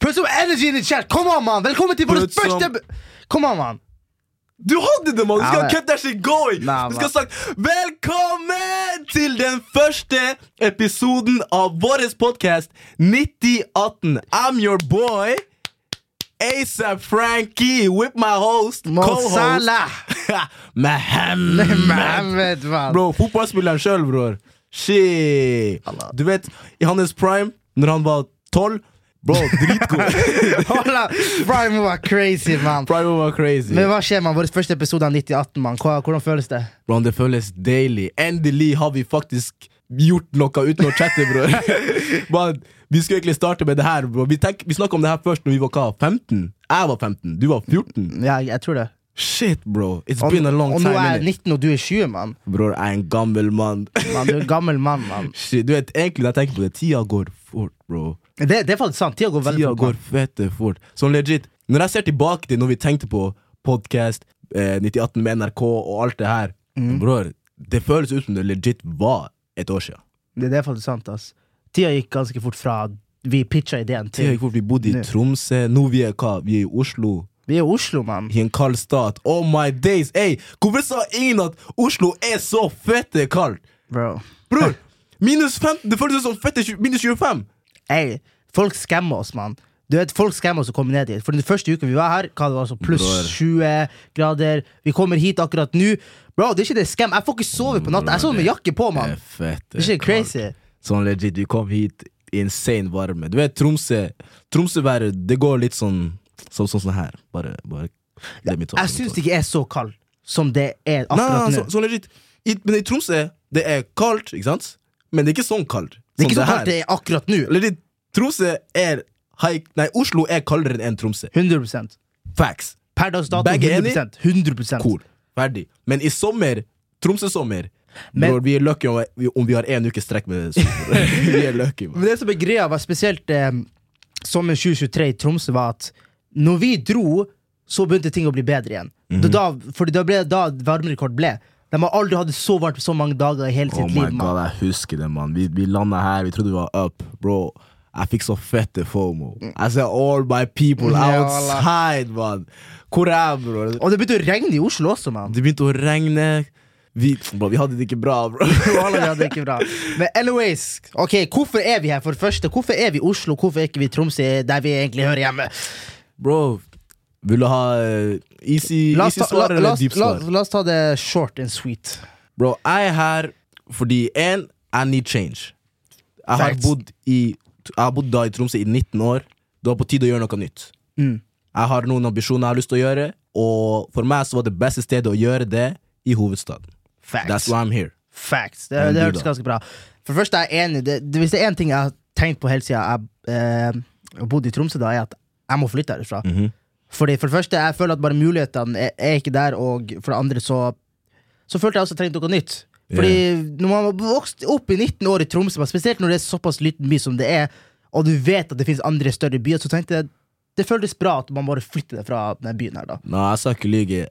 Put some energy in the chat! Kom an, mann! Velkommen til vår Put some- første Kom an, mann! Du hadde det, mann! Du skal Ja, men- cut that shit going! Nei, du skal ha sagt Velkommen til den første episoden av vår podkast 9018. I'm your boy. ASAP Frankie with my host, co-host Salah! Mohammed. Mohammed, mann. Bro, fotballspilleren sjøl, bror. Shit. Allah. Du vet, i hans prime, når han var tolv Bro, dritgod. Hola, Prime var crazy, mann. prime var crazy. Men hva skjer, mann? Vår første episode av 9018, mann. Hva- Hvordan føles det? Bro, det føles deilig. Endelig har vi faktisk gjort noe uten å chatte, bror. Bare, vi skulle egentlig starte med det her. Bro. Vi, tenk, vi snakket om det her først når vi var hva, 15? Jeg var 15, du var 14. Ja, jeg tror det. Shit, bro. It's Og, been a long og nå time. er jeg innit? 19, og du er 20, mann. Bror, jeg er en gammel mann. Man, du er en gammel mann, mann. Shit, du vet, egentlig når jeg tenker på det, tida går fort, bro. Det, det er faktisk sant. Tida går veldig Tida fort. går mann. fette fort. Sånn legit. Når jeg ser tilbake til når vi tenkte på podkast, eh, 9018 med NRK og alt det her, Mm. bror, det føles ut som det legit var et år siden. Det, det er faktisk sant, ass. Tida gikk ganske fort fra vi pitcha ideen Tida til gikk fort. Vi bodde i Nei. Tromsø. Nå vi er hva? Vi er i Oslo. Vi er i Oslo, mann. I en kald stat. Oh my days! Ey, hvorfor sa ingen at Oslo er så fette kaldt? Bro. Bror! Minus 15! Det føles ut som fette tju- minus 25! Ey, folk skammer oss, mann. Du vet, Folk skammer oss å komme ned hit. For den første uken vi var her, hva det var altså pluss Bror. 20 grader. Vi kommer hit akkurat nå. Bro, det er ikke det skam. Jeg får ikke sove på natta. Jeg sover med jakke på, mann. fette Det er ikke crazy. Sånn legit, vi kom hit i insane varme. Du vet, Tromsø Tromsøværet, det går litt sånn Sånn sånn, sånn her. Bare, bare Let me talk. Jeg syns det ikke er så kaldt som det er Nei, nei, akkurat nei, nå. så- sånn legit. I, men i Tromsø, det er kaldt, ikke sant? Men det er ikke sånn kaldt. Det er ikke som så her. kaldt det er akkurat nå. Eller de, Tromsø er haik, Nei, Oslo er kaldere enn Tromsø. 100 Facts. Per dags dato Begge er enig? 100 100 Cool. Ferdig. Men i sommer, Tromsø-sommer Men- bror, Vi er lucky om, om vi har én uke strekk med sommer. vi er lucky, man. Men det som er greia, var spesielt eh, sommeren 2023 i Tromsø, var at når vi dro, så begynte ting å bli bedre igjen. Mhm. Da- da, fordi da ble da varmerekord ble. De har aldri hatt det så varmt så mange dager i hele sitt liv. Man. Oh jeg husker det, mann. Vi, vi landa her, vi trodde vi var up. Bro, jeg fikk så fette fomo. I said all my people Ja, outside, mann. Hvor er jeg, bror? Og det begynte å regne i Oslo også, mann. Det begynte å regne. Vi, bro, vi hadde det ikke bra, bro. Alle hadde det ikke bra. Men anyways, ok, hvorfor er vi her? For det første, hvorfor er vi i Oslo? Hvorfor er ikke vi i Tromsø, der vi egentlig hører hjemme? Bro, vil du ha eh, easy, La oss easy ta, la, svar la, eller oss- deep la, svar? la oss ta det short and sweet. Bro, jeg er her fordi en, I need change. Jeg har Facts. bodd, i, jeg har bodd da i Tromsø i 19 år. Det var på tide å gjøre noe nytt. Mm. Jeg har noen ambisjoner jeg har lyst til å gjøre, og for meg så var det beste stedet å gjøre det i hovedstaden. Facts. That's why I'm here. Facts. Det, Enn det du, hørtes da? ganske bra. For det første er jeg enig. Det, det, hvis det er én ting jeg har tenkt på hele siden jeg eh, har bodd i Tromsø, da, er at jeg må flytte herfra. Mhm. Fordi For det første, jeg føler at bare mulighetene er, er ikke der, og for det andre så Så følte jeg også at jeg trengte noe nytt. Fordi når man har vokst opp i 19 år i Tromsø, men spesielt når det er såpass liten by som det er, og du vet at det finnes andre større byer, så tenkte jeg det føltes bra at man bare flytter fra den byen her, da. Nå, jeg skal ikke lyge.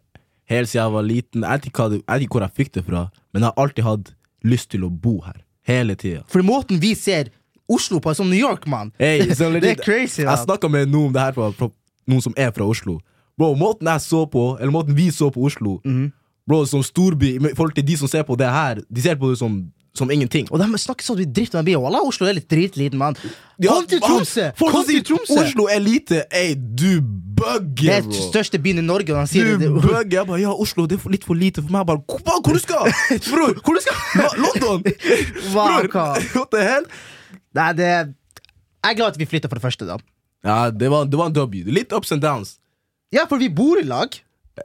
Helt siden jeg var liten, jeg vet ikke hva det- jeg vet ikke hvor jeg fikk det fra, men jeg har alltid hatt lyst til å bo her. Hele tida. For måten vi ser Oslo på, er som New York, mann. Hey, så det er legit, crazy. Jeg Man. snakka med noen om det her fra, fra noen som er fra Oslo. Bro, Måten jeg så på, eller måten vi så på Oslo Mhm. Bro, som storby, men i forhold til de som ser på det her, de ser på det som, som ingenting. Og de snakker sånn at vi drifter med bil. Wallah, Oslo er litt dritliten, mann. Ja, Kom til man, Tromsø! folk Kom som til sier Tromsø! Oslo er lite. Ey, du Det bugger, er den bro. største byen i Norge, og han sier Du det. det. bugger. Jeg bare, ja, Oslo det er for, litt for lite for meg. Jeg bare, "Hva- hva, hvor du skal? Bror, hvor du skal? Lo- London! Hva, Bror, hva? what the hell? Nei, det Jeg er glad at vi flytta for det første, da. Ja, det var, det var en W. Litt ups and downs. Ja, for vi bor i lag.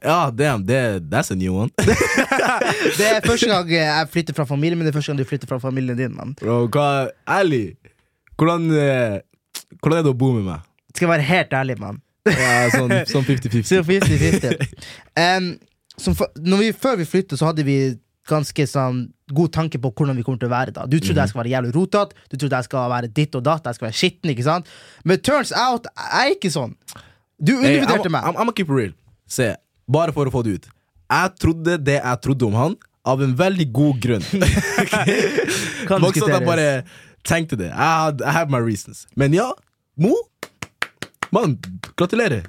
Ja, damn, det, that's a new one. Det er første gang eh, jeg flytter fra familien min, det er første gang du flytter fra familien din, mann. Bro, hva, ærlig hvordan, eh, hvordan er det å bo med meg? Skal jeg være helt ærlig, mann. Ja, sånn sånn 50-50 Så 50-50. Em, som for- når vi, før vi flyttet, så hadde vi ganske sånn god tanke på hvordan vi kommer til å være. da Du Mhm. trodde jeg skulle være jævlig rotete, du trodde jeg skal være ditt og datt, jeg skal være skitten. ikke sant? Men turns out, jeg er ikke sånn. Du Hey, undervurderte I'm- meg. I'm, I'm gonna keep it real Se, bare for å få det ut Jeg trodde det jeg trodde om han Av en veldig god grunn Det var ikke sånn at jeg bare tenkte det I, had, I have my reasons Men ja, Mo Mann, gratulerer.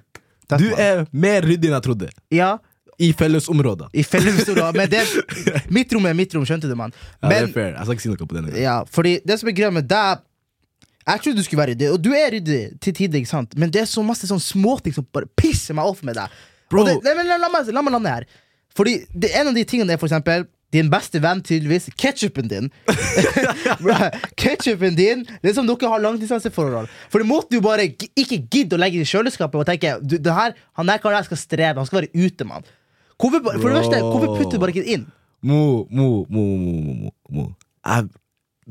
Takk, Du mann. er mer ryddig enn jeg trodde. Ja, I fellesområder. i fellesstoler. Men det, mitt rom er mitt rom, skjønte du, mann. Ja, det Men er fair. Jeg skal ikke si noe på den. engang. Ja, fordi det som er greia med deg Jeg trodde du skulle være ryddig, og du er ryddig til tider, ikke sant? men det er så masse sånn småting som bare pisser meg off med deg. Bro. Og Det, nei, men la, la, meg, la meg lande her. Fordi det, en av de tingene er for eksempel din beste venn, tydeligvis, ketsjupen din. Ketsjupen din Det er som dere har langdistanseforhold. For måten du bare gi- ikke gidder å legge i kjøleskapet og tenke du, det her, Han der karen her skal streve, han skal være ute, mann. Hvorfor, ba- for det verste, hvorfor putter du bare ikke det inn? Mo, mo, mo, mo, mo, mo, mo. Jeg,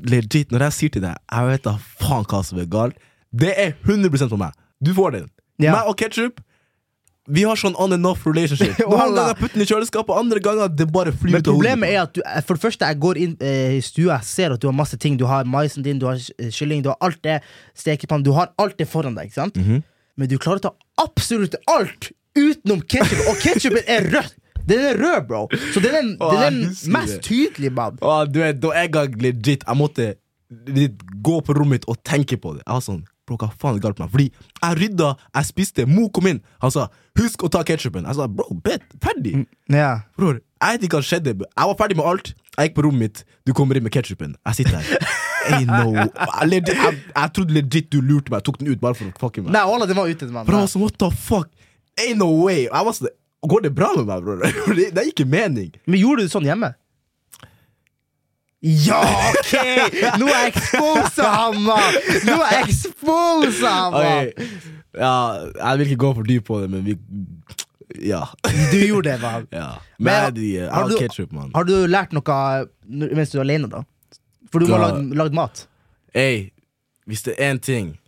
legit, når jeg sier til deg Jeg vet da faen hva som er galt. Det er 100 på meg. Du får den. Ja. Meg og ketsjup. Vi har sånn on and off relationship. Noen Wallah. ganger putter den i kjøleskapet, andre ganger det bare flyr Men ut av hodet. problemet er at du, for det første, jeg går inn eh, i stua, jeg ser at du har masse ting. Du har maisen din, du har eh, kylling, du har alt det, stekepanne, du har alt det foran deg. ikke sant? Mhm. Men du klarer å ta absolutt alt utenom ketsjup, og ketsjupen er rødt! Den er rød, bro! Så den er Å, den er jeg den husker mest det. tydelige, mann. Å, du vet, da en gang legit Jeg måtte legit gå på rommet mitt og tenke på det. Jeg var sånn Bro, hva faen er galt med meg? Fordi jeg rydda, jeg spiste, Mo kom inn. Han sa 'husk å ta ketsjupen'. Jeg sa 'bro, bet, Mm. ferdig'. Ja. Bror, jeg vet ikke hva som skjedde. men Jeg var ferdig med alt. Jeg gikk på rommet mitt. Du kommer inn med ketsjupen. Jeg sitter her. Hey, no. jeg, legit, jeg, jeg trodde legit du lurte meg. Jeg tok den ut bare for å fucke meg. Nei, Ola, den var ute, mann. Bro, altså, what the fuck? Ain't no way. Jeg var sånn, Går det bra med meg, bror? Det, det er ikke mening. Men gjorde du det sånn hjemme? Ja, OK! Nå er jeg exposa, Hamma! Nå er jeg exposa, Hamma! Ok, Ja, jeg vil ikke gå for dypt på det, men vi Ja. Du gjorde det, mann. ja. Men har- Mad, jeg har har du- ketsjup, mann. Har du lært noe når- mens du er alene, da? For du må ha Da- lagd, lagd mat. Hey, hvis det er én ting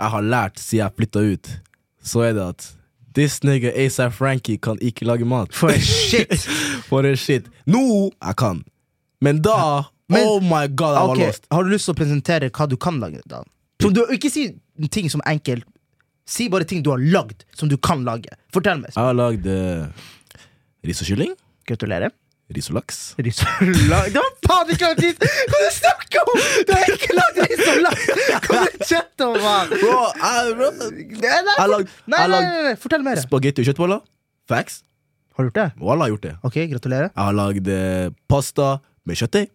jeg har lært siden jeg flytta ut, så er det at this nigga ASAP Frankie kan ikke lage mat. For shit! For en shit. Nå jeg kan. Men da Men- Oh my god, jeg var Ok, lost. Har du lyst til å presentere hva du kan lage? da? Som du, ikke si ting som enkelt. Si bare ting du har lagd, som du kan lage. Fortell meg. Jeg har lagd eh, ris og kylling. Gratulerer. Ris og laks. Ris og laks Det var faen ikke lagd ris! Hva du snakker om?! Du har ikke lagd ris og laks! Hva du chatter om, mann? Bro, jeg, bro. Nei, nei, Jeg lag- nei, nei, jeg lag- nei, nei, fortell mer. Spagetti og kjøttboller. Facts. Har du gjort det? Walla har gjort det. Ok, gratulerer. Jeg har lagd eh, pasta med kjøttdeig.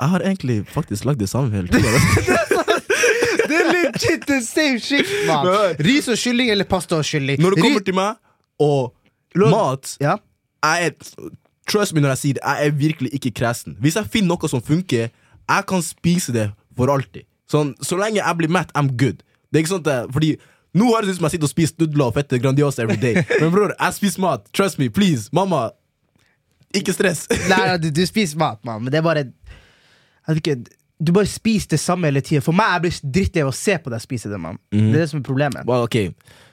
Jeg har egentlig faktisk lagd det samme hele tida. Det er legit the same shit, mann! Men hør. Ris og kylling eller pasta og kylling? Når det Ri- kommer til meg og mat Ja, jeg er, Trust me når jeg sier det, jeg er virkelig ikke kresen. Hvis jeg finner noe som funker, jeg kan spise det for alltid. Sånn, så lenge jeg blir mett, I'm good. Det er ikke sånn at jeg, fordi Nå høres det ut som jeg sitter og spiser nudler og fette Grandiosa every day. Men bror, jeg spiser mat. Trust me, please. Mamma, ikke stress. Nei, nei, du, du spiser mat, mann, men det er bare jeg vet ikke, Du bare spiser det samme hele tida. For meg jeg blir drittlei av å se på deg spise det, mann. Det er det som er problemet. Well, ok,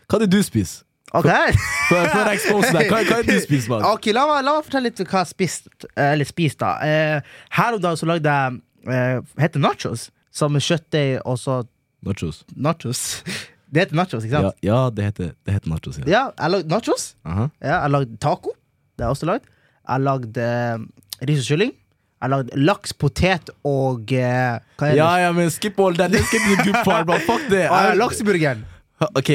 Hva er det du spiser? Ok, Før, før jeg exposer deg, hva, hva er det du spiser, mann? Ok, la, meg, la meg fortelle litt hva jeg spiste. Eller spist, da. Eh, her om dagen så lagde jeg eh, Heter det nachos? Som kjøttdeig og så Nachos. nachos. Det heter nachos, ikke Ja, sant? ja det, heter, det heter nachos. Ja, Ja. jeg lagde nachos. Aha. Ja, jeg lagde taco. Det har jeg også lagd. Jeg lagde eh, ris og kylling. Jeg lagde laks, potet og eh, Hva er det? ja, ja, men skip all that. Skip the good part, man. Fuck det. Ah, Jeg- lakseburgeren. Ha, Ok,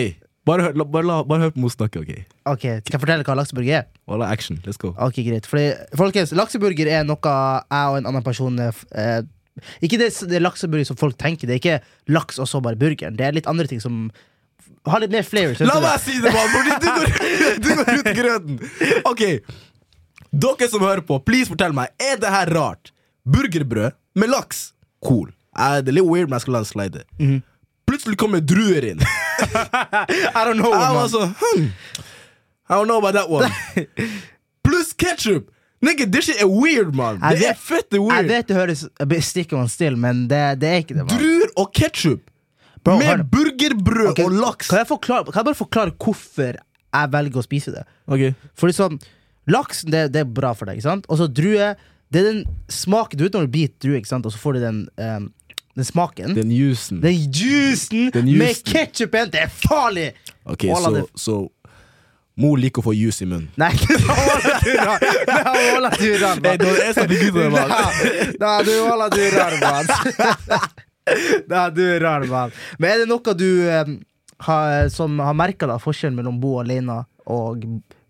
bare hør, la, bare, la, bare hør på Mo snakke, ok? Ok, Skal jeg fortelle hva lakseburger er? Voilà, action, let's go. Ok, greit Fordi, folkens, Lakseburger er noe jeg og en annen person eh, f- eh, Ikke det, s- det lakseburger som folk tenker. Det er ikke laks og så bare burgeren. Det er litt andre ting som f- har litt mer flavor. skjønner La du? meg si det, mann, fordi du går, du går ut i grøten. Ok, dere som hører på, please fortell meg, er det her rart? Burgerbrød med laks? Cool. Eh, det er litt weird, men jeg skal la den slide. Plutselig kommer druer inn. I don't know, Jeg var man. sånn, hmm, I don't know about that one. Pluss ketchup. Nigga, this shit er weird, mann. Jeg Det er vet- fette Jeg weird. vet det høres eh, stick on still, men det, det er ikke det. Man. Druer og ketchup. Bro, hør Med nå. burgerbrød Ok, og laks. Kan jeg, forklare, kan jeg bare forklare hvorfor jeg velger å spise det? Ok Fordi sånn, Laksen det, det er bra for deg, ikke sant? Og så drue Det er den smaken Du vet når du biter drue, ikke sant? og så får du den, ehm, den smaken. Den, Den juicen. juicen Den med juicen. ketsjupen! Det er farlig! Ok, Walla, så, det- så Mo liker å få juice i munnen. Nei, det var Ola du rar! Det var Ola du rar, Nei, det var jeg som fikk ut av det, mann. mann! Nei, du er Ola du er rar, mann. Nei, du er rar, mann. Men er det noe du ehm, har, som har merka forskjellen mellom bo alene og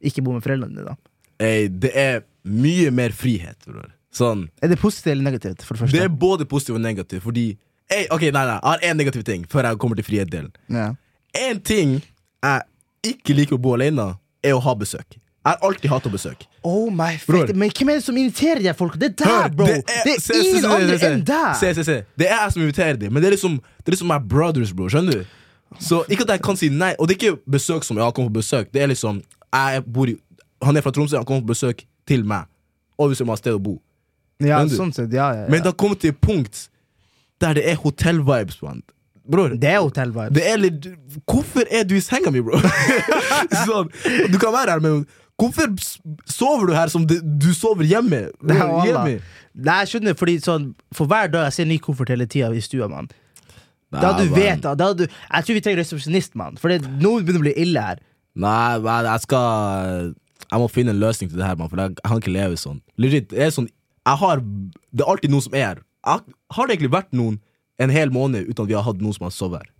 ikke bo med foreldrene dine? da? Ey, det er mye mer frihet, bror. Sånn. Er det positivt eller negativt? for det første? Det er både positivt og negativt, fordi Ey, Ok, nei, nei, jeg har én negativ ting før jeg kommer til frihetsdelen. Ja. Én ting jeg ikke liker å bo alene, er å ha besøk. Jeg har alltid hatt å besøke. Oh my Bror. fuck, Men hvem er det som inviterer de folka? Det er deg, bro! Det er, se, se, se, ingen se, andre se. enn deg! Se, se, se. Det er jeg som inviterer dem, men det er liksom Det er liksom my brothers, bro. Skjønner du? Så ikke at jeg kan si nei. Og det er ikke besøk som ja, kom på besøk. Det er liksom jeg bor i, Han er fra Tromsø, han kommer på besøk til meg. Og hvis jeg må ha sted å bo. Ja, Men du- sånn sett, ja, ja, ja. Men det har kommet til et punkt der det er hotell-vibes på han. Bror, Det er hotellvibe. det er litt Hvorfor er du i senga mi, bro? sånn, du kan være her, men hvorfor s- sover du her som det- du sover hjemme? Det er Bror, jo Allah. hjemme. Nei, jeg skjønner, fordi sånn, For hver dag jeg ser ny koffert hele tida i stua, mann. Da Nei, du men- vet da, da du, Jeg tror vi trenger resepsjonist, mann. For det, nå begynner det å bli ille her. Nei, men jeg skal Jeg må finne en løsning til det her, mann, for jeg, jeg kan ikke leve sånn. Legit, det er sånn Jeg har Det er alltid noen som er her. Jeg, har det egentlig vært noen en hel måned uten at vi har hatt noen som har sovet her?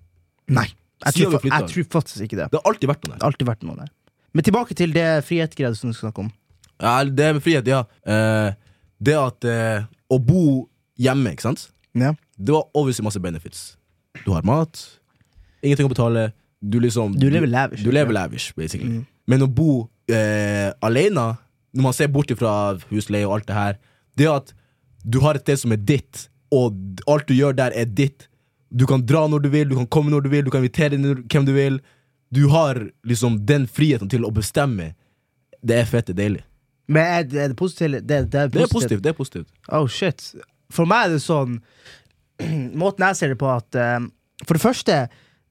Nei. Jeg Siden tror, fa- vi jeg flyttet. tror faktisk ikke det. Det har alltid vært noen her. Det har alltid vært noen der. Men tilbake til det frihetsgreia som du skal snakke om. Ja, det med frihet, ja. Eh, det at eh, Å bo hjemme, ikke sant? Ja. Det var obviously masse benefits. Du har mat, ingenting å betale. Du liksom Du lever lavish. Mm. Du lever lavish, basically. Men å bo eh, alene, når man ser bort fra husleie og alt det her Det at du har et sted som er ditt, og d- alt du gjør der, er ditt. Du kan dra når du vil, du kan komme når du vil, du kan invitere når- hvem du vil. Du har liksom den friheten til å bestemme. Det er fette deilig. Men er det, er det positivt? eller- Det, det, er Det er positivt. positivt. det er positivt Oh shit. For meg er det sånn Måten jeg ser det på, at eh, For det første,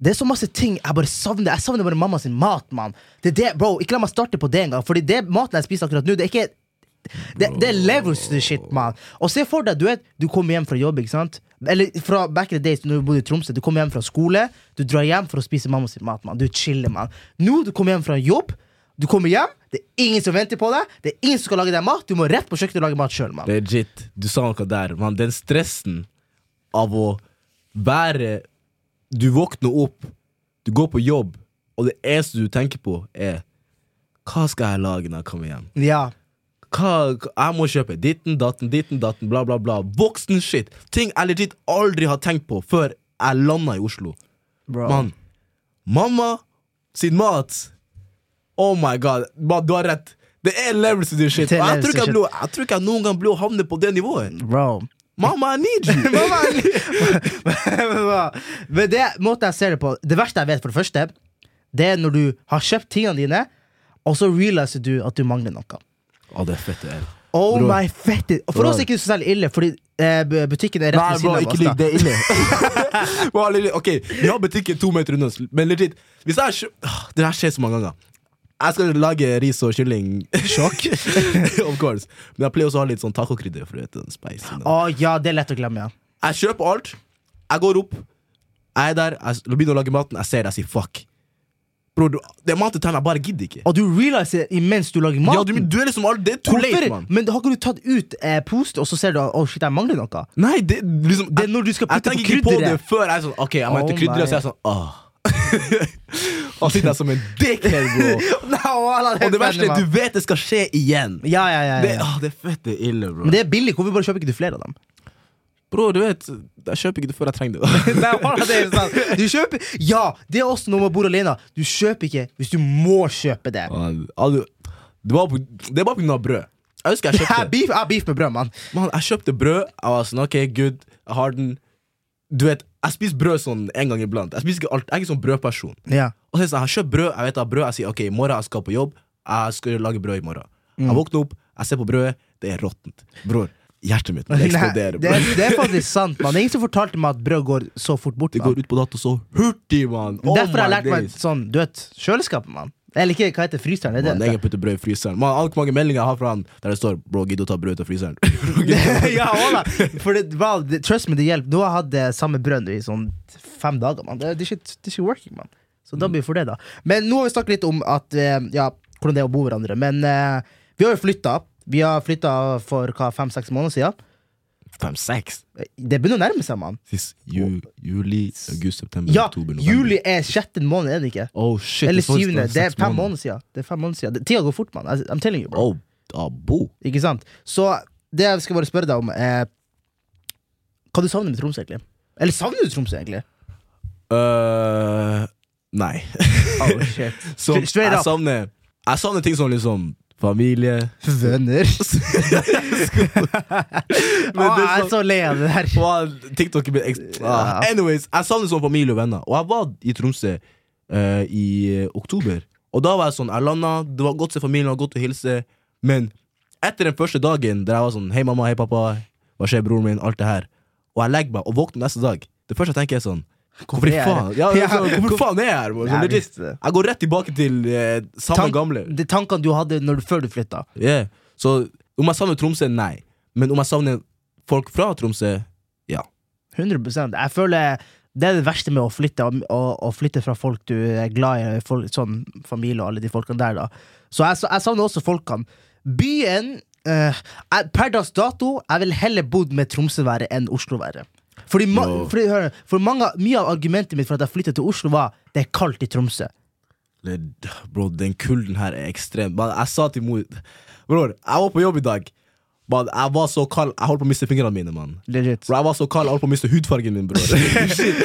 det er så masse ting jeg bare savner. Jeg savner bare mamma sin mat, mann. Det er det, bro, ikke la meg starte på det engang. Fordi det maten jeg spiser akkurat nå, det er ikke det, det er levels to the shit, mann. Og se for deg, du vet, du kommer hjem fra jobb, ikke sant? Eller fra back in the days når du bodde i Tromsø. Du kommer hjem fra skole, du drar hjem for å spise mamma sin mat, mann. Du chiller, mann. Nå, du kommer hjem fra jobb, du kommer hjem, det er ingen som venter på deg, det er ingen som skal lage deg mat, du må rett på kjøkkenet og lage mat sjøl, mann. Legit. Du sa noe der. Man, den stressen av å være Du våkner opp, du går på jobb, og det eneste du tenker på, er Hva skal jeg lage når jeg kommer hjem? Ja. Hva, jeg må kjøpe ditten, datten, ditten, datten, bla, bla, bla. Voksen shit. Ting jeg legit aldri har tenkt på før jeg landa i Oslo. Bro. Mann. Mamma sin mat. Oh my god. Man, du har rett. Det er levels to this shit. Det er Og Jeg levels tror, to ikke jeg, blir, jeg tror ikke jeg noen gang blir å havne på det nivået. Bro. Mamma, I need you. Mamma, I need Men det måten jeg ser det på Det verste jeg vet, for det første, det er når du har kjøpt tingene dine, og så realiser du at du mangler noe. Å, det er fett. det er. Oh Bro. my fette Og For Bro. oss er det ikke så særlig ille, fordi eh, bu- butikken er rett ved siden av oss. da. det ille. Bare litt- ok, Vi har butikken to meter unna, oss, men legit hvis jeg, kjø- Åh, Det her skjer så mange ganger. Jeg skal lage ris og kylling. Sjokk. of course. Men jeg pleier også å ha litt sånn tacokrydder. for å gjøre den spicy. Å ja, det er lett å glemme, ja. Jeg kjøper alt. Jeg går opp. Jeg er der. Jeg s- begynner å lage maten. Jeg ser det. Jeg sier fuck. Bro, du, det er mat til tenner. Jeg bare gidder ikke. Og du realiser imens du lager Ja, du, maten. du er liksom all, Det er too late, Hvorfor? mann. Men har ikke du tatt ut eh, post, og så ser du at oh, shit, jeg mangler noe? Nei, det, liksom, Det er når du skal Jeg putte på tenker ikke på det krydderet. før jeg er sånn Ok, jeg må hente Oh krydder, og så er jeg sånn Åh Og sitter jeg som en dickhead, bro Nei, wallah, Og det verste fett, er at mann. du vet det skal skje igjen Ja, ja, ja, Det, ja, ja. åh, det er fette ille, bro Men det er billig. Hvorfor bare kjøper ikke du flere av dem? Bro, du vet Jeg kjøper ikke det før jeg trenger det Nei, hold det er sant. Du kjøper Ja, det er også når man bor alene. Du kjøper ikke hvis du må kjøpe det. Man, al- Det var på- det er bare på grunn av brød Jeg husker jeg Jeg har kjøpte beef, jeg har beef med brød, mann. Man, jeg kjøpte brød Jeg var sånn, ok, good Jeg har den Du vet, jeg spiser brød sånn en gang iblant Jeg spiser ikke alt Jeg er ikke sånn brødperson Ja. Og så er det sånn, jeg har kjøpt brød, jeg vet jeg har brød Jeg sier ok, i morgen jeg skal på jobb Jeg skal lage brød i morgen Mm. Jeg våkner opp, jeg ser på brødet Det er råttent Bror, hjertet mitt det eksploderer Nei, det, bror. er- det er faktisk sant, mann. Det er ingen som fortalte meg at brød går så fort bort. Det mann. går ut på dato så hurtig, mann oh Derfor har jeg my lært meg days. sånn, du vet, kjøleskapet, mann. Eller ikke, hva heter fryseren? Er det Man, jeg det? kan putte brød i fryseren Man, alt mange meldinger jeg har fra han Der det står, bro, gidd å ta brød ut av fryseren Bro, gidd å ta- ja, voilà. For det, well, det, trust me, det hjelper. Nå har jeg hatt det samme brød nå i sånn fem dager, mann. Det, det, er ikke- det er ikke working, mann. Så da blir det for det, da. Men nå har vi snakket litt om at, eh, ja, hvordan det er å bo hverandre. Men eh, vi har jo flytta. Vi har flytta for hva, fem-seks måneder siden. Times seks. Det begynner å nærme seg, mann. Sist ju, juli, august, september, Ja, oktober, november. juli er sjette måned, er det ikke? Oh shit, Eller det faktisk syvende. seks Det er fem måneder siden. Det er fem måneder siden. Det- Tida går fort, mann. I- I'm telling you, bro. Oh, ah, bo. Ikke sant? Så det jeg skal bare spørre deg om, er hva du savner med Tromsø, egentlig? Eller savner du Tromsø, egentlig? Eh, nei. Oh, shit. Så Straight- straight jeg up. savner Jeg savner ting som liksom familie Venner. Men ah, det jeg er som- så lei av det her. Wow, TikTok er blitt ekst- ah. Anyways, jeg savner sånn familie og venner. Og jeg var i Tromsø eh, i eh, oktober. Og da var jeg sånn Jeg landa, det var godt å se familien, det var godt å hilse. Men etter den første dagen der jeg var sånn Hei, mamma, hei, pappa, hva skjer, broren min, alt det her. Og jeg legger meg og våkner neste dag. Det første jeg tenker, er sånn Hvorfor er jeg faen? her? Ja, Ja, altså, hvorfor faen er jeg her? bro? Ja, Sånn, jeg legit. visste det. jeg går rett tilbake til eh, samme Tank- gamle. De tankene du hadde når, du- før du flytta. Yeah. Så om jeg savner Tromsø, nei. Men om jeg savner folk fra Tromsø, ja. 100 Jeg føler det er det verste med å flytte, og- og- og flytte fra folk du er glad i, folk, sånn familie og alle de folkene der. da Så jeg, sa- jeg savner også folkene. Byen eh, jeg- Per dags dato Jeg vil heller bodd med Tromsøværet enn Osloværet. Fordi, ma Jo. fordi hør, for mange, Mye av argumentet mitt for at jeg flyttet til Oslo, var det er kaldt i Tromsø. Eller, Bro, den kulden her er ekstrem. Man, jeg sa til mor Bror, jeg var på jobb i dag. Man, jeg var så kald. Jeg holdt på å miste fingrene mine, mann. Legit. Bro, jeg var så kald, jeg holdt på å miste hudfargen min, bror. Shit.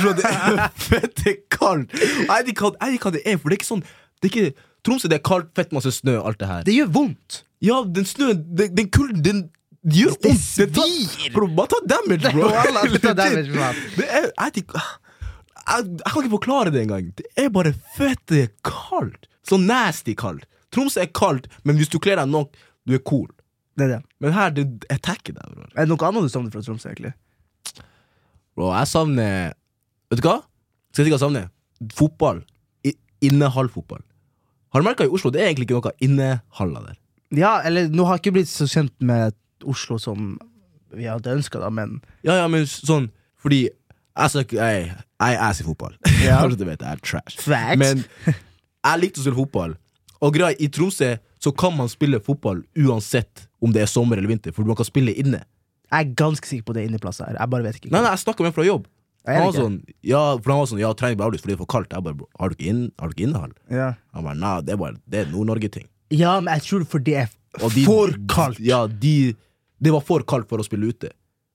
Bro, det er fette kaldt. Jeg vet ikke hva- jeg vet ikke hva det er, for det er ikke sånn det er ikke, Tromsø det er kaldt, fett masse snø, alt det her. Det gjør vondt. Ja, den snøen, den, den kulden, den gjør Det vondt. Den tar- Bro, man tar damage, bro. Wallah, du tar damage, man. Det er, jeg, vet ikke- jeg, jeg kan ikke forklare det engang. Det er bare fette kaldt. Så nasty kaldt. Tromsø er kaldt, men hvis du kler deg nok, du er cool. Det er det. Men her, det jeg tacker deg, bror. Er det noe annet du savner fra Tromsø? egentlig? Bro, jeg savner Vet du hva? Skal jeg si hva jeg savner? Fotball. I, innehallfotball. Har du merka i Oslo, det er egentlig ikke noe innehaller der. Ja, eller Nå har jeg ikke blitt så kjent med Oslo som vi hadde ønska, da, men Ja, ja, men sånn Fordi jeg sa ikke Jeg jeg er ass i fotball. Ja. Kanskje du vet jeg er trash. Facts. Men jeg likte å spille fotball. Og greia i Tromsø så kan man spille fotball uansett om det er sommer eller vinter, for man kan spille inne. Jeg er ganske sikker på det inneplasset her. Jeg bare vet ikke. Nei, nei, jeg snakka med en fra jobb. Er det Han var ikke? sånn Ja, for han var sånn Ja, trening ble avlyst fordi det er for kaldt. Jeg bare bro, Har du ikke, inn, har du ikke innhold? Ja. Han bare Nei, det er bare Det er Nord-Norge-ting. ja, men jeg tror for det er Og de- for kaldt. Ja, de Det var for kaldt for å spille ute.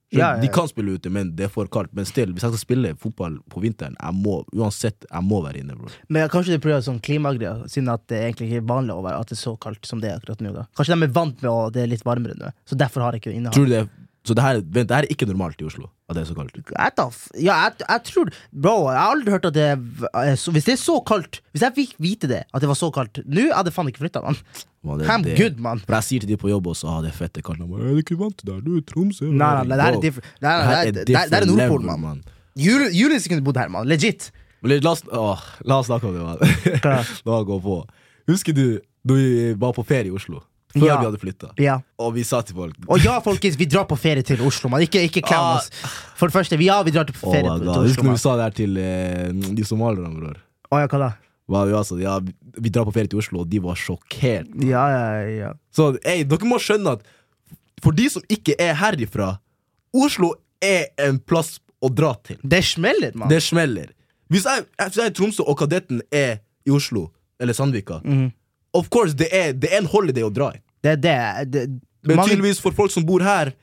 Skjønner, Ja, ja, ja. De kan spille ute, men det er for kaldt. Men still, hvis jeg skal spille fotball på vinteren, jeg må uansett jeg må være inne. bro Men kanskje det er pga. Sånn klimagreier, siden at det egentlig ikke er vanlig å være at det er så kaldt som det er akkurat nå. da Kanskje de er vant med at det er litt varmere nå, så derfor har jeg ikke innhold. Tror du det er- Så det her, vent, det her er ikke normalt i Oslo? At det er så kaldt? Jeg tar f- ja, jeg, jeg tror Bro, jeg har aldri hørt at det er v- er så, Hvis det er så kaldt Hvis jeg fikk vite det, at det var så kaldt Nå hadde jeg faen ikke flytta, mann. Man, det, I'm det- good, mann. For jeg sier til de på jobb også ah, det er fette kaldt. De bare, Er du ikke vant til det? her? Du er i Tromsø. Nei, nei, nei, det her er Bro, different. Nei, nei, her det er- det er- det er different Nordpolen, level, mann. Jul- Julius kunne bodd her, mann. Legit. Men La oss, åh, la oss snakke om det, mann. Hva? La oss gå på. Husker du da vi var på ferie i Oslo? Før Ja. vi hadde flytta. Ja Og vi sa til folk Og ja, folkens, vi drar på ferie til Oslo, mann. Ikke, ikke klem Ah. oss. For det første, vi- ja, vi drar til Oh ferie my til God. Husker Oslo. du vi mann. sa det her til eh, de somalierne, bror? Å ja, hva da? Hva vi, var sånn, ja, vi- vi drar på ferie til Oslo, og de var sjokkert. Ja, ja, ja. Så ey, dere må skjønne at for de som ikke er herifra, Oslo er en plass å dra til. Det smeller, mann. Det smeller. Hvis jeg, hvis jeg er i Tromsø, og Kadetten er i Oslo, eller Sandvika Of course, det er, det er en holiday å dra i. Det er det. det Men mange, tydeligvis for folk som bor her,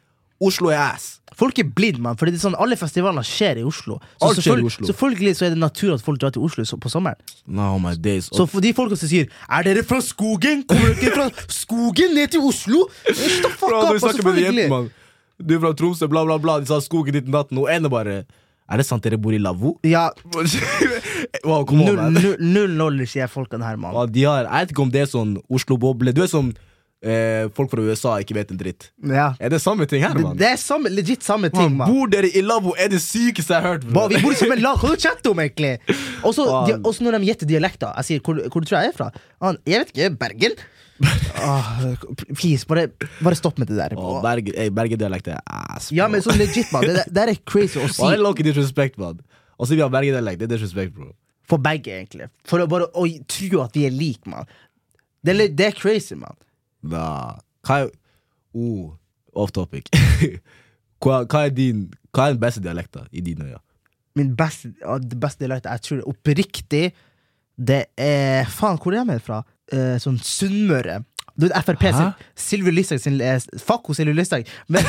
Oslo er ass. folk er blind, mann. Fordi det er sånn, alle festivaler skjer i Oslo. Så Alt skjer i selvfølgelig- Oslo. Selvfølgelig så er det natur at folk drar til Oslo så- på sommeren. No, my days. Så for de folka som sier 'Er dere fra skogen?' Kommer dere fra skogen ned til Oslo? Shut the fuck Bra, up, du og snakker med de jentene, selvfølgelig. mann. Du er fra Tromsø, bla, bla, bla. De sa skogen ditt natten, og ene bare Er det sant dere bor i lavvo? Ja, wow, kom on, null, man. null, null knowledge, sier folkene her, mann. Ja, de har, jeg vet ikke om det er sånn Oslo-boble. Du er som eh, folk fra USA ikke vet en dritt. Ja. Er det samme ting her, Det, mann? det er samme, legit samme ting, mann. Bor dere i lavvo, er det sykeste jeg har hørt. Ba, Bro. vi bor som en lag, hva du chatter om egentlig? Og så Faen. de- og så når de gjetter dialekter Jeg sier hvor, hvor du tror jeg er fra Han, Jeg vet ikke, Bergen Åh, Please, bare, bare stopp med det der Å, Berge- ey, Bergedialekt er ass. Ja, bro. men sånn legit, man Det, det der er crazy å Å, si det er low-key disrespect, mann. Og så vi har bergedialekt. Det er disrespect, bro. for begge egentlig For å bare å tro at vi er lik, man Det, er li- det er crazy, man Da. Hva er oh, Off topic. Hva, hva, er din, hva er den beste dialekten i dine øyne? Min beste, ja, det beste dialekten jeg tror er oppriktig, det er Faen, hvor er jeg med fra? Eh, sånn Sunnmøre. Du vet Frp sin Hæ? Sylvi Listhaug sin eh, Fuck hun Sylvi Listhaug! Men,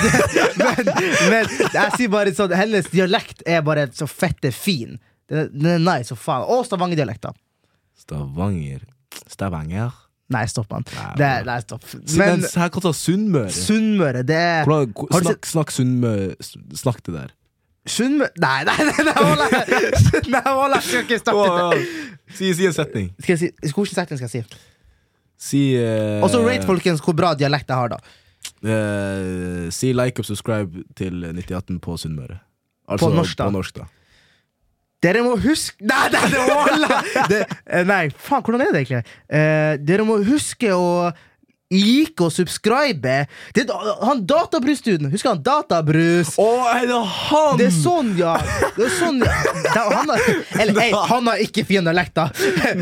men, men jeg sier bare sånn hennes dialekt er bare så fette fin. Den, er- den er nice og faen. Og stavangerdialekter. Stavanger. Stavanger? Nei, stopp, mann. Nei, Det er- Nei, stopp. Men, Men men her kan du ta Sunnmøre. Sunnmøre, det er Hvordan- hvor- Har du Snakk, snakk Sunnmøre Snakk det der. Sunnmøre Nei, nei, nei, nei, hold da. Nei, hold da, jeg skal ikke starte det. Å, ja. Si, si en setning. Skal jeg si, Hvilken setning skal jeg si? Si eh, Og så rate, folkens, hvor bra dialekt jeg har, da. eh, Si like og subscribe til 9018 på Sunnmøre. Altså, norsk, da. På norsk, da. Dere må huske Nei, nei, det var det, eh, Nei, faen, hvordan er det egentlig? Eh, dere må huske å like og subscribe. Det, er da- han Databrus-duden, husker han Databrus? Å, er det han?! Det er sånn, ja! Det er sånn, ja. Da, han, har, eller, ei, han har ikke fin dialekt, da.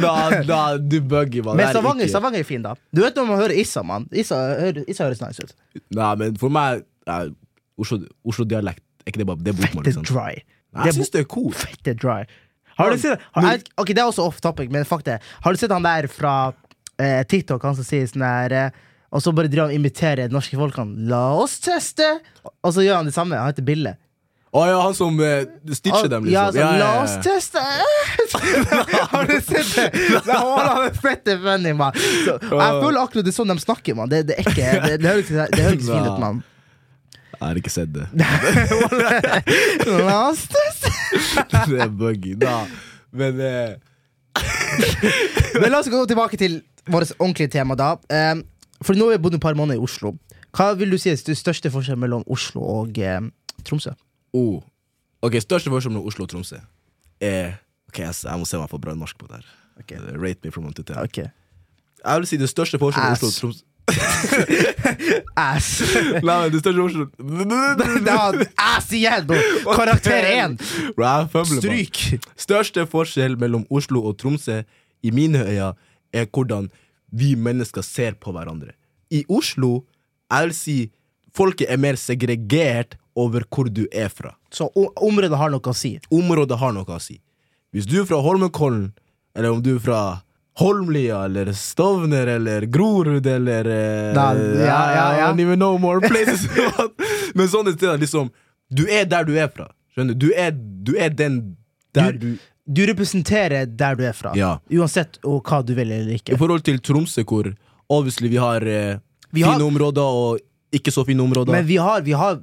Da, da, du bugger, mann. Men Det er Stavanger, ikke- Stavanger er fin, da. Du vet når man hører Issa, mann. Issa, hører- Issa høres nice ut. Nei, men for meg er Oslo, Oslo-dialekt er ikke det bare Det er bokmål, Det ikke er sant? dry. Nei, det er Jeg syns det er cool. Fette dry. Har du Han- sett har, jeg, Ok, Det er også off topic, men fuck det. Har du sett han der fra eh, TikTok, han som sier sånn der eh, Og så bare driver han og imiterer de norske folkene. La oss teste! Og så gjør han det samme. Han heter Bille. Å ja, han som eh, stitcher dem, liksom. Ja, sånn, Ja, ja, La ja. oss teste! har du sett det? Nei, hold han er fette funny, mann. Så, Jeg føler akkurat det er sånn de snakker, mann. Det, det er ikke Det, det høres ikke det høres ikke så fint ut, mann. Jeg har ikke sett det. La oss teste! det er buggy. Da. Men eh, Men la oss gå tilbake til vårt ordentlige tema da. Eh, for nå har vi bodd et par måneder i Oslo. Hva vil du si er den største forskjellen mellom Oslo og eh, Tromsø? oh. Ok, Største forskjell mellom Oslo og Tromsø er Ok, jeg, jeg må se om jeg får bra norsk på det her. Ok. Eh, Rate me from one to ten. Ok. Jeg vil si det største forskjellen mellom Oslo og Ass. Tromsø Ass. Nei, men det største forskjellen Da, ass igjen, bro! Karakter én! Bro, jeg fømler, mann. Stryk! Største forskjell mellom Oslo og Tromsø i mine øyne er hvordan vi mennesker ser på hverandre. I Oslo, jeg vil si, folket er mer segregert over hvor du er fra. Så o- området har noe å si. Området har noe å si. Hvis du er fra Holmenkollen, eller om du er fra Holmlia eller Stovner eller Grorud eller eh, Da- ja, ja, ja. I don't even know more places. Men sånne steder, liksom. Du er der du er fra. Skjønner du? Du er, du er den der Du- du Du representerer der du er fra, Ja. uansett og hva du vil eller I ikke. forhold til Tromsø, hvor obviously vi har eh, Vi fine har- områder og ikke så fine områder. Men vi har, vi har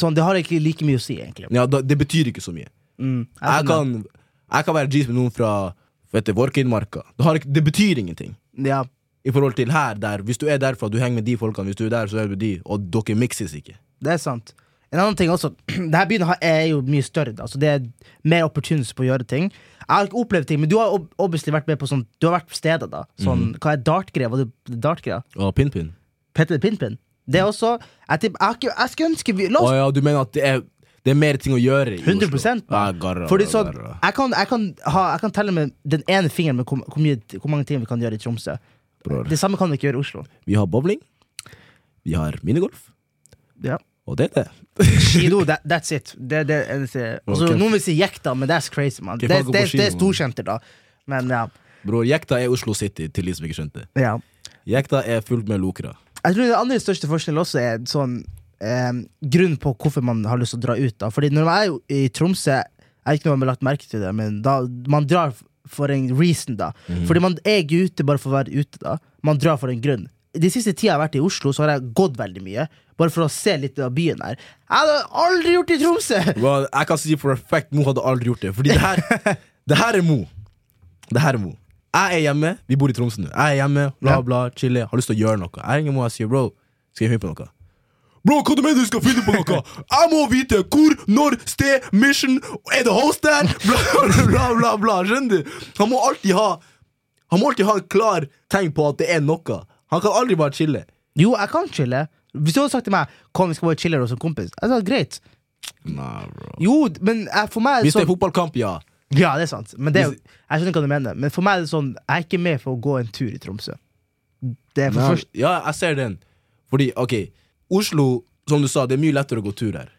sånn, Det har ikke like mye å si, egentlig. ja, da, det betyr ikke så mye. Mm, jeg Jeg skjønner. kan, jeg kan være G's med noen fra vet du, Vorkindmarka. Det, har ikke- det betyr ingenting. ja. I forhold til her, der Hvis du er derfra, du henger med de folkene. Hvis du er der, så er du med de. Og dere mikses ikke. Det er sant. En annen ting også, Dette byen har- er jo mye større. Da. Så Det er mer opportunities på å gjøre ting. Jeg har ikke opplevd ting, men du har ob- obviously vært med på sånn Du har vært på steder, da. Sånn, Mhm. Hva er dartgreia? Var det dartgreia? Og pin-pin. Petter Pinpin? Det er også Jeg, tipp, jeg, har ikke, jeg skulle ønske vi, La Å oss ja, du mener at det er, det er mer ting å gjøre i 100% Oslo? Ja, garra, Fordi sånn, garra. jeg kan, jeg, kan ha, jeg kan telle med den ene fingeren med hvor, hvor, mye, hvor mange ting vi kan gjøre i Tromsø. Bror. Det samme kan vi ikke gjøre i Oslo. Vi har bowling. Vi har minigolf. Ja. Og det er det. Skido, that, that's it. Det, det, eneste- altså, Ok. Noen vil si jekk, da, men that's crazy, man. Ok, Det, folk går på det, ski, det er man. storkjenter, da. Men ja. Bror, jekta er Oslo City, til de som ikke skjønte det. ja. Jekta er fullt med lokere. Jeg tror den andre største forskjellen også er sånn eh, grunn på hvorfor man har lyst til å dra ut. da Fordi når man er jo i Tromsø, jeg vet ikke om man har lagt merke til det, men da, man drar for en reason. da Mhm. Fordi man er ikke ute bare for å være ute. da Man drar for en grunn. De siste tida jeg har vært i Oslo, så har jeg gått veldig mye. Bare for å se litt av byen her. Jeg hadde aldri gjort det i Tromsø! Well, jeg kan si for a fact Mo hadde aldri gjort det. Fordi det her, det her er Mo. Det her er Mo. Jeg er hjemme, vi bor i Tromsø nå. Jeg er hjemme, bla, Ja. bla, chille, har lyst til å gjøre noe. Jeg ringer Mo og jeg sier bro, skal jeg finne på noe? Bro, hva du mener du skal finne på noe? Jeg må vite hvor, når, sted, mission, er det host der? Bla, bla, bla, bla, skjønner du? Han må alltid ha Han må alltid ha en klar tegn på at det er noe. Han kan aldri bare chille. Jo, jeg kan chille. Hvis du hadde sagt til meg Kom, vi skal bare chille hos en kompis, jeg sa greit. Nah, bro. Jo, men jeg, for meg er det Hvis det sånn- er fotballkamp, ja. Ja, det er sant. Men det, er jo- jeg skjønner hva du mener. Men for meg er det sånn, jeg er ikke med for å gå en tur i Tromsø. Det er for Nei, først Ja, jeg ser den. Fordi, ok, Oslo, som du sa, det er mye lettere å gå tur her.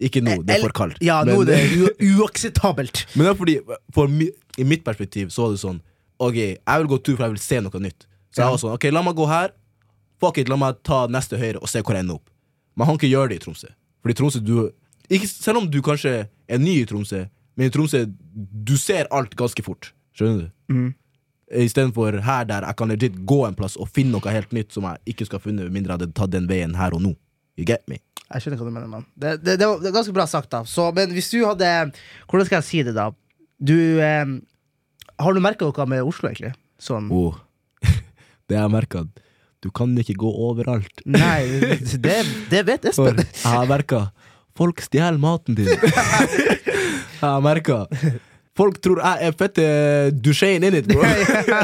Ikke nå, det er for kaldt. Ja, nå Men- er det u uakseptabelt. Men det er fordi, for mi, i mitt perspektiv så var det sånn Ok, jeg vil gå tur, for jeg vil se noe nytt. Så jeg var sånn, ok, la meg gå her. Fuck it, la meg ta neste høyre og se hvor jeg ender opp. Men han kan ikke gjøre det i Tromsø. Fordi Tromsø, du ikke, Selv om du kanskje er ny i Tromsø, men i Tromsø du ser alt ganske fort. Skjønner du? Mm. Istedenfor her der jeg kan legit gå en plass og finne noe helt nytt som jeg ikke skal ha funnet, med mindre jeg hadde tatt den veien her og nå. You get me? Jeg skjønner hva du mener, mann. Det, det, det, var- det er ganske bra sagt, da. Så, men hvis du hadde Hvordan skal jeg si det, da? Du eh, Har du merka noe med Oslo, egentlig? Sånn Oh. det jeg merka, du kan ikke gå overalt. Nei, det, det vet For Espen. jeg har merka Folk stjeler maten din. jeg har merka Folk tror jeg er fette Duchene in it, bro.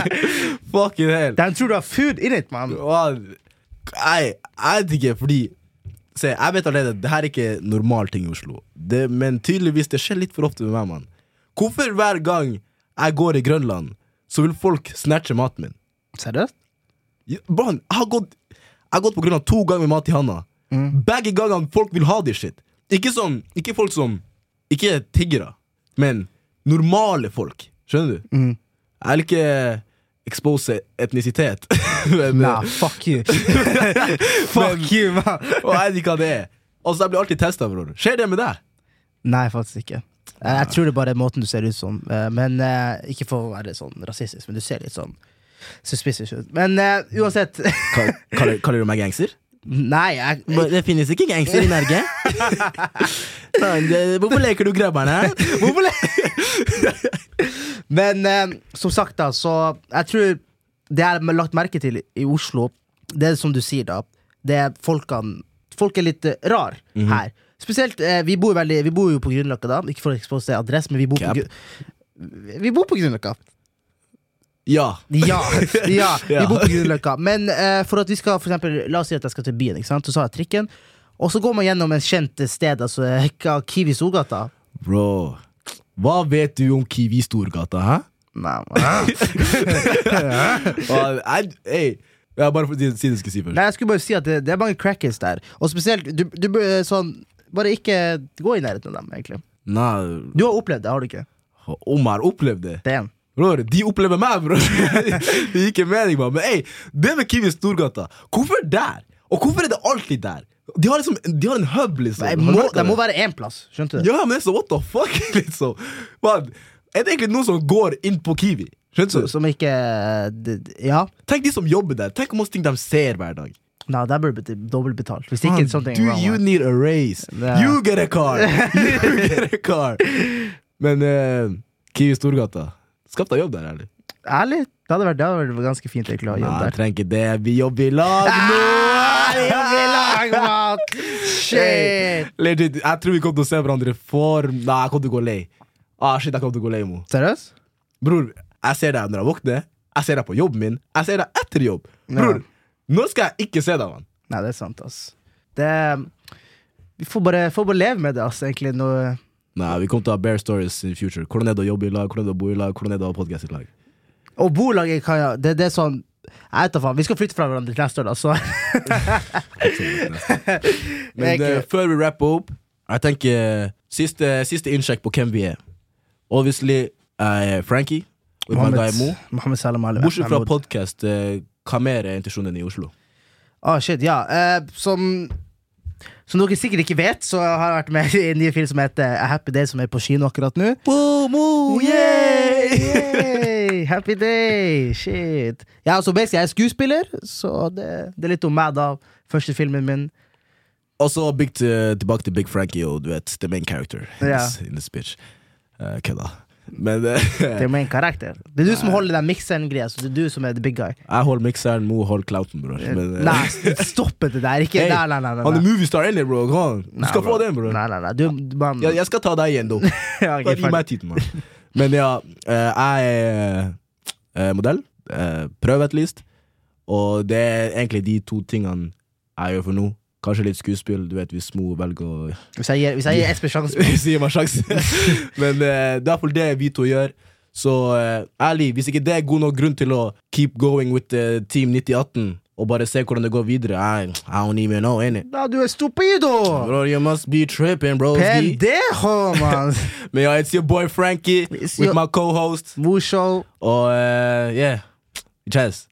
Fucking hell. De tror du har food in it, mann. Wow. Nei, jeg vet ikke, fordi Se, jeg vet allerede det her er ikke normal ting i Oslo. Det, men tydeligvis det skjer litt for ofte med meg, mann. Hvorfor hver gang jeg går i Grønland, så vil folk snatche maten min? Seriøst? Ja, Brann, jeg har gått Jeg har gått på grunn av to ganger med mat i handa. Begge gangene folk vil ha det shit. Ikke sånn, ikke folk som Ikke tiggere, men normale folk. Skjønner du? Jeg vil ikke expose etnisitet. men, Nei, fuck you. fuck Men- you, mann. Og jeg vet ikke hva det er. Altså, Jeg blir alltid testa, bror. Skjer det med deg? Nei, faktisk ikke. Jeg, jeg tror det bare er måten du ser ut som. eh, Men eh, Ikke for å være sånn rasistisk, men du ser litt sånn suspicious ut. Men eh, uansett Kall- Kaller, kaller du meg gangster? Nei, jeg, det finnes ikke gangster i Norge. Hvorfor leker du grabberne? Hvorfor le- Men eh, som sagt, da, så Jeg tror det jeg har lagt merke til i Oslo, det er som du sier, da. Det er folkene Folk er litt uh, rar her. Spesielt eh, Vi bor, veldig, vi bor jo på Grünerløkka, da. Ikke for å ekspose adresse, men vi bor på, Cap. Gru- vi bor på Grünerløkka. Ja. Ja, ja, vi Ja. bor på Grünerløkka. Men eh, for at vi skal, for eksempel, la oss si at jeg skal til byen, ikke sant? så tar jeg trikken. Og så går man gjennom et kjent sted, altså eh, Kiwi Storgata. Bro, hva vet du om Kiwi Storgata, hæ? Nei, man. Og jeg- Ey, jeg har bare for- si si det jeg skulle si først. Nei, jeg skulle bare si at det, det er mange crackers der. Og spesielt du, du bør sånn Bare ikke gå i nærheten av dem, egentlig. Nei, Du har opplevd det, har du ikke? om jeg har opplevd det? Det er en. Bror, de opplever meg, bror! Det gir ikke mening, mann. Men ey, det med Kiwi Storgata, hvorfor der? Og hvorfor er det alltid der? De har liksom De har en hub, liksom. Det Har du må, merket det må det? være én plass, skjønte du? Ja, men så what the fuck, liksom? Man, er det egentlig noen som går inn på Kiwi? Skjønner du? Som ikke eh, det- det- Ja. Tenk de som jobber der. Tenk hvor mange ting de ser hver dag. Nei, der burde du dobbeltbetalt. Hvis ikke Man, something do wrong. you need a raise? Ja. You get a car! You get a car! Men eh, Kiwi Storgata, skaff deg jobb der, ærlig. Ærlig, det hadde vært, det hadde vært ganske fint. egentlig, å Nei, jobbe jeg der. trenger ikke det. Vi jobber i lag nå! Ah, jævlig lang, mann. Hey, Shit! Legit, jeg tror vi kommer til å se hverandre for Nei, jeg kommer til å gå lei. Ah, shit, jeg kommer til å gå lei, Mo. Seriøst? Bror, jeg ser deg når jeg våkner. Jeg ser deg på jobben min. Jeg ser deg etter jobb. Bror, nå skal jeg ikke se deg, mann. Nei, det er sant, ass. Det Vi får bare, får bare leve med det, ass, egentlig. Nå, Nei, Vi kommer til å ha bare stories in the future. Hvordan er det å jobbe i lag? Hvordan er det å bo i lag? Hvordan er det å ha podcast i lag? Og bolaget kan jeg det, det er sånn Jeg vet da faen. Vi skal flytte fra hverandre til neste år, da. Så Men Jeg- eh, før vi rapper opp, jeg tenker eh, siste, siste innsjekk på hvem vi er. Obviously jeg er Frankie. With my guy Mo. Mohammed Salam Ali. Bortsett fra Mahmoud. podkast, hva mer er intensjonen i Oslo? Ah, shit, ja. Eh, som som dere sikkert ikke vet, så har jeg vært med i en ny film som heter A Happy Day, som er på kino akkurat nå. Bomo, Oh, Yay! Happy day! Shit. Ja, så basically, jeg er skuespiller, så det, det er litt om meg, da. Første filmen min. Og så big til, tilbake til Big Frankie og du vet, the main character in, Ja. this, in this bitch. Eh, Kødda. Men eh, Det er min karakter. Det er du som holder den mikseren-greia, så det er du som er the big guy. jeg holder mikseren, Mo holder clouten, bror. Men, eh, Nei, stopp det der. Ikke hey, nei, nei, nei, nei. Han er moviestar inni, bro. Kom an. Du Nei, skal bro. få den, bror. Nei, nei, nei. Du, du- man, Jeg, jeg skal ta deg igjen, da. Ja, ok, Bare gi ferdig. meg tiden, mann. Men ja, eh, jeg er eh, modell. eh, prøv et list. Og det er egentlig de to tingene jeg gjør for nå. Kanskje litt skuespill, du vet hvis Mo velger å Hvis jeg gir, hvis jeg gir Espen sjansen gi meg sjanse. Men eh, det er iallfall det vi to gjør. Så eh, ærlig, hvis ikke det er god nok grunn til å keep going with eh, Team 9018 og bare se hvordan det går videre. I, I don't even know, innit? Da, du er stupido! Bro, you must be tripping, bro. Pendejo, mann! Men ja, it's your boy Frankie It's with your- my co-host. Morsom. øh, Og eh, yeah, Chess.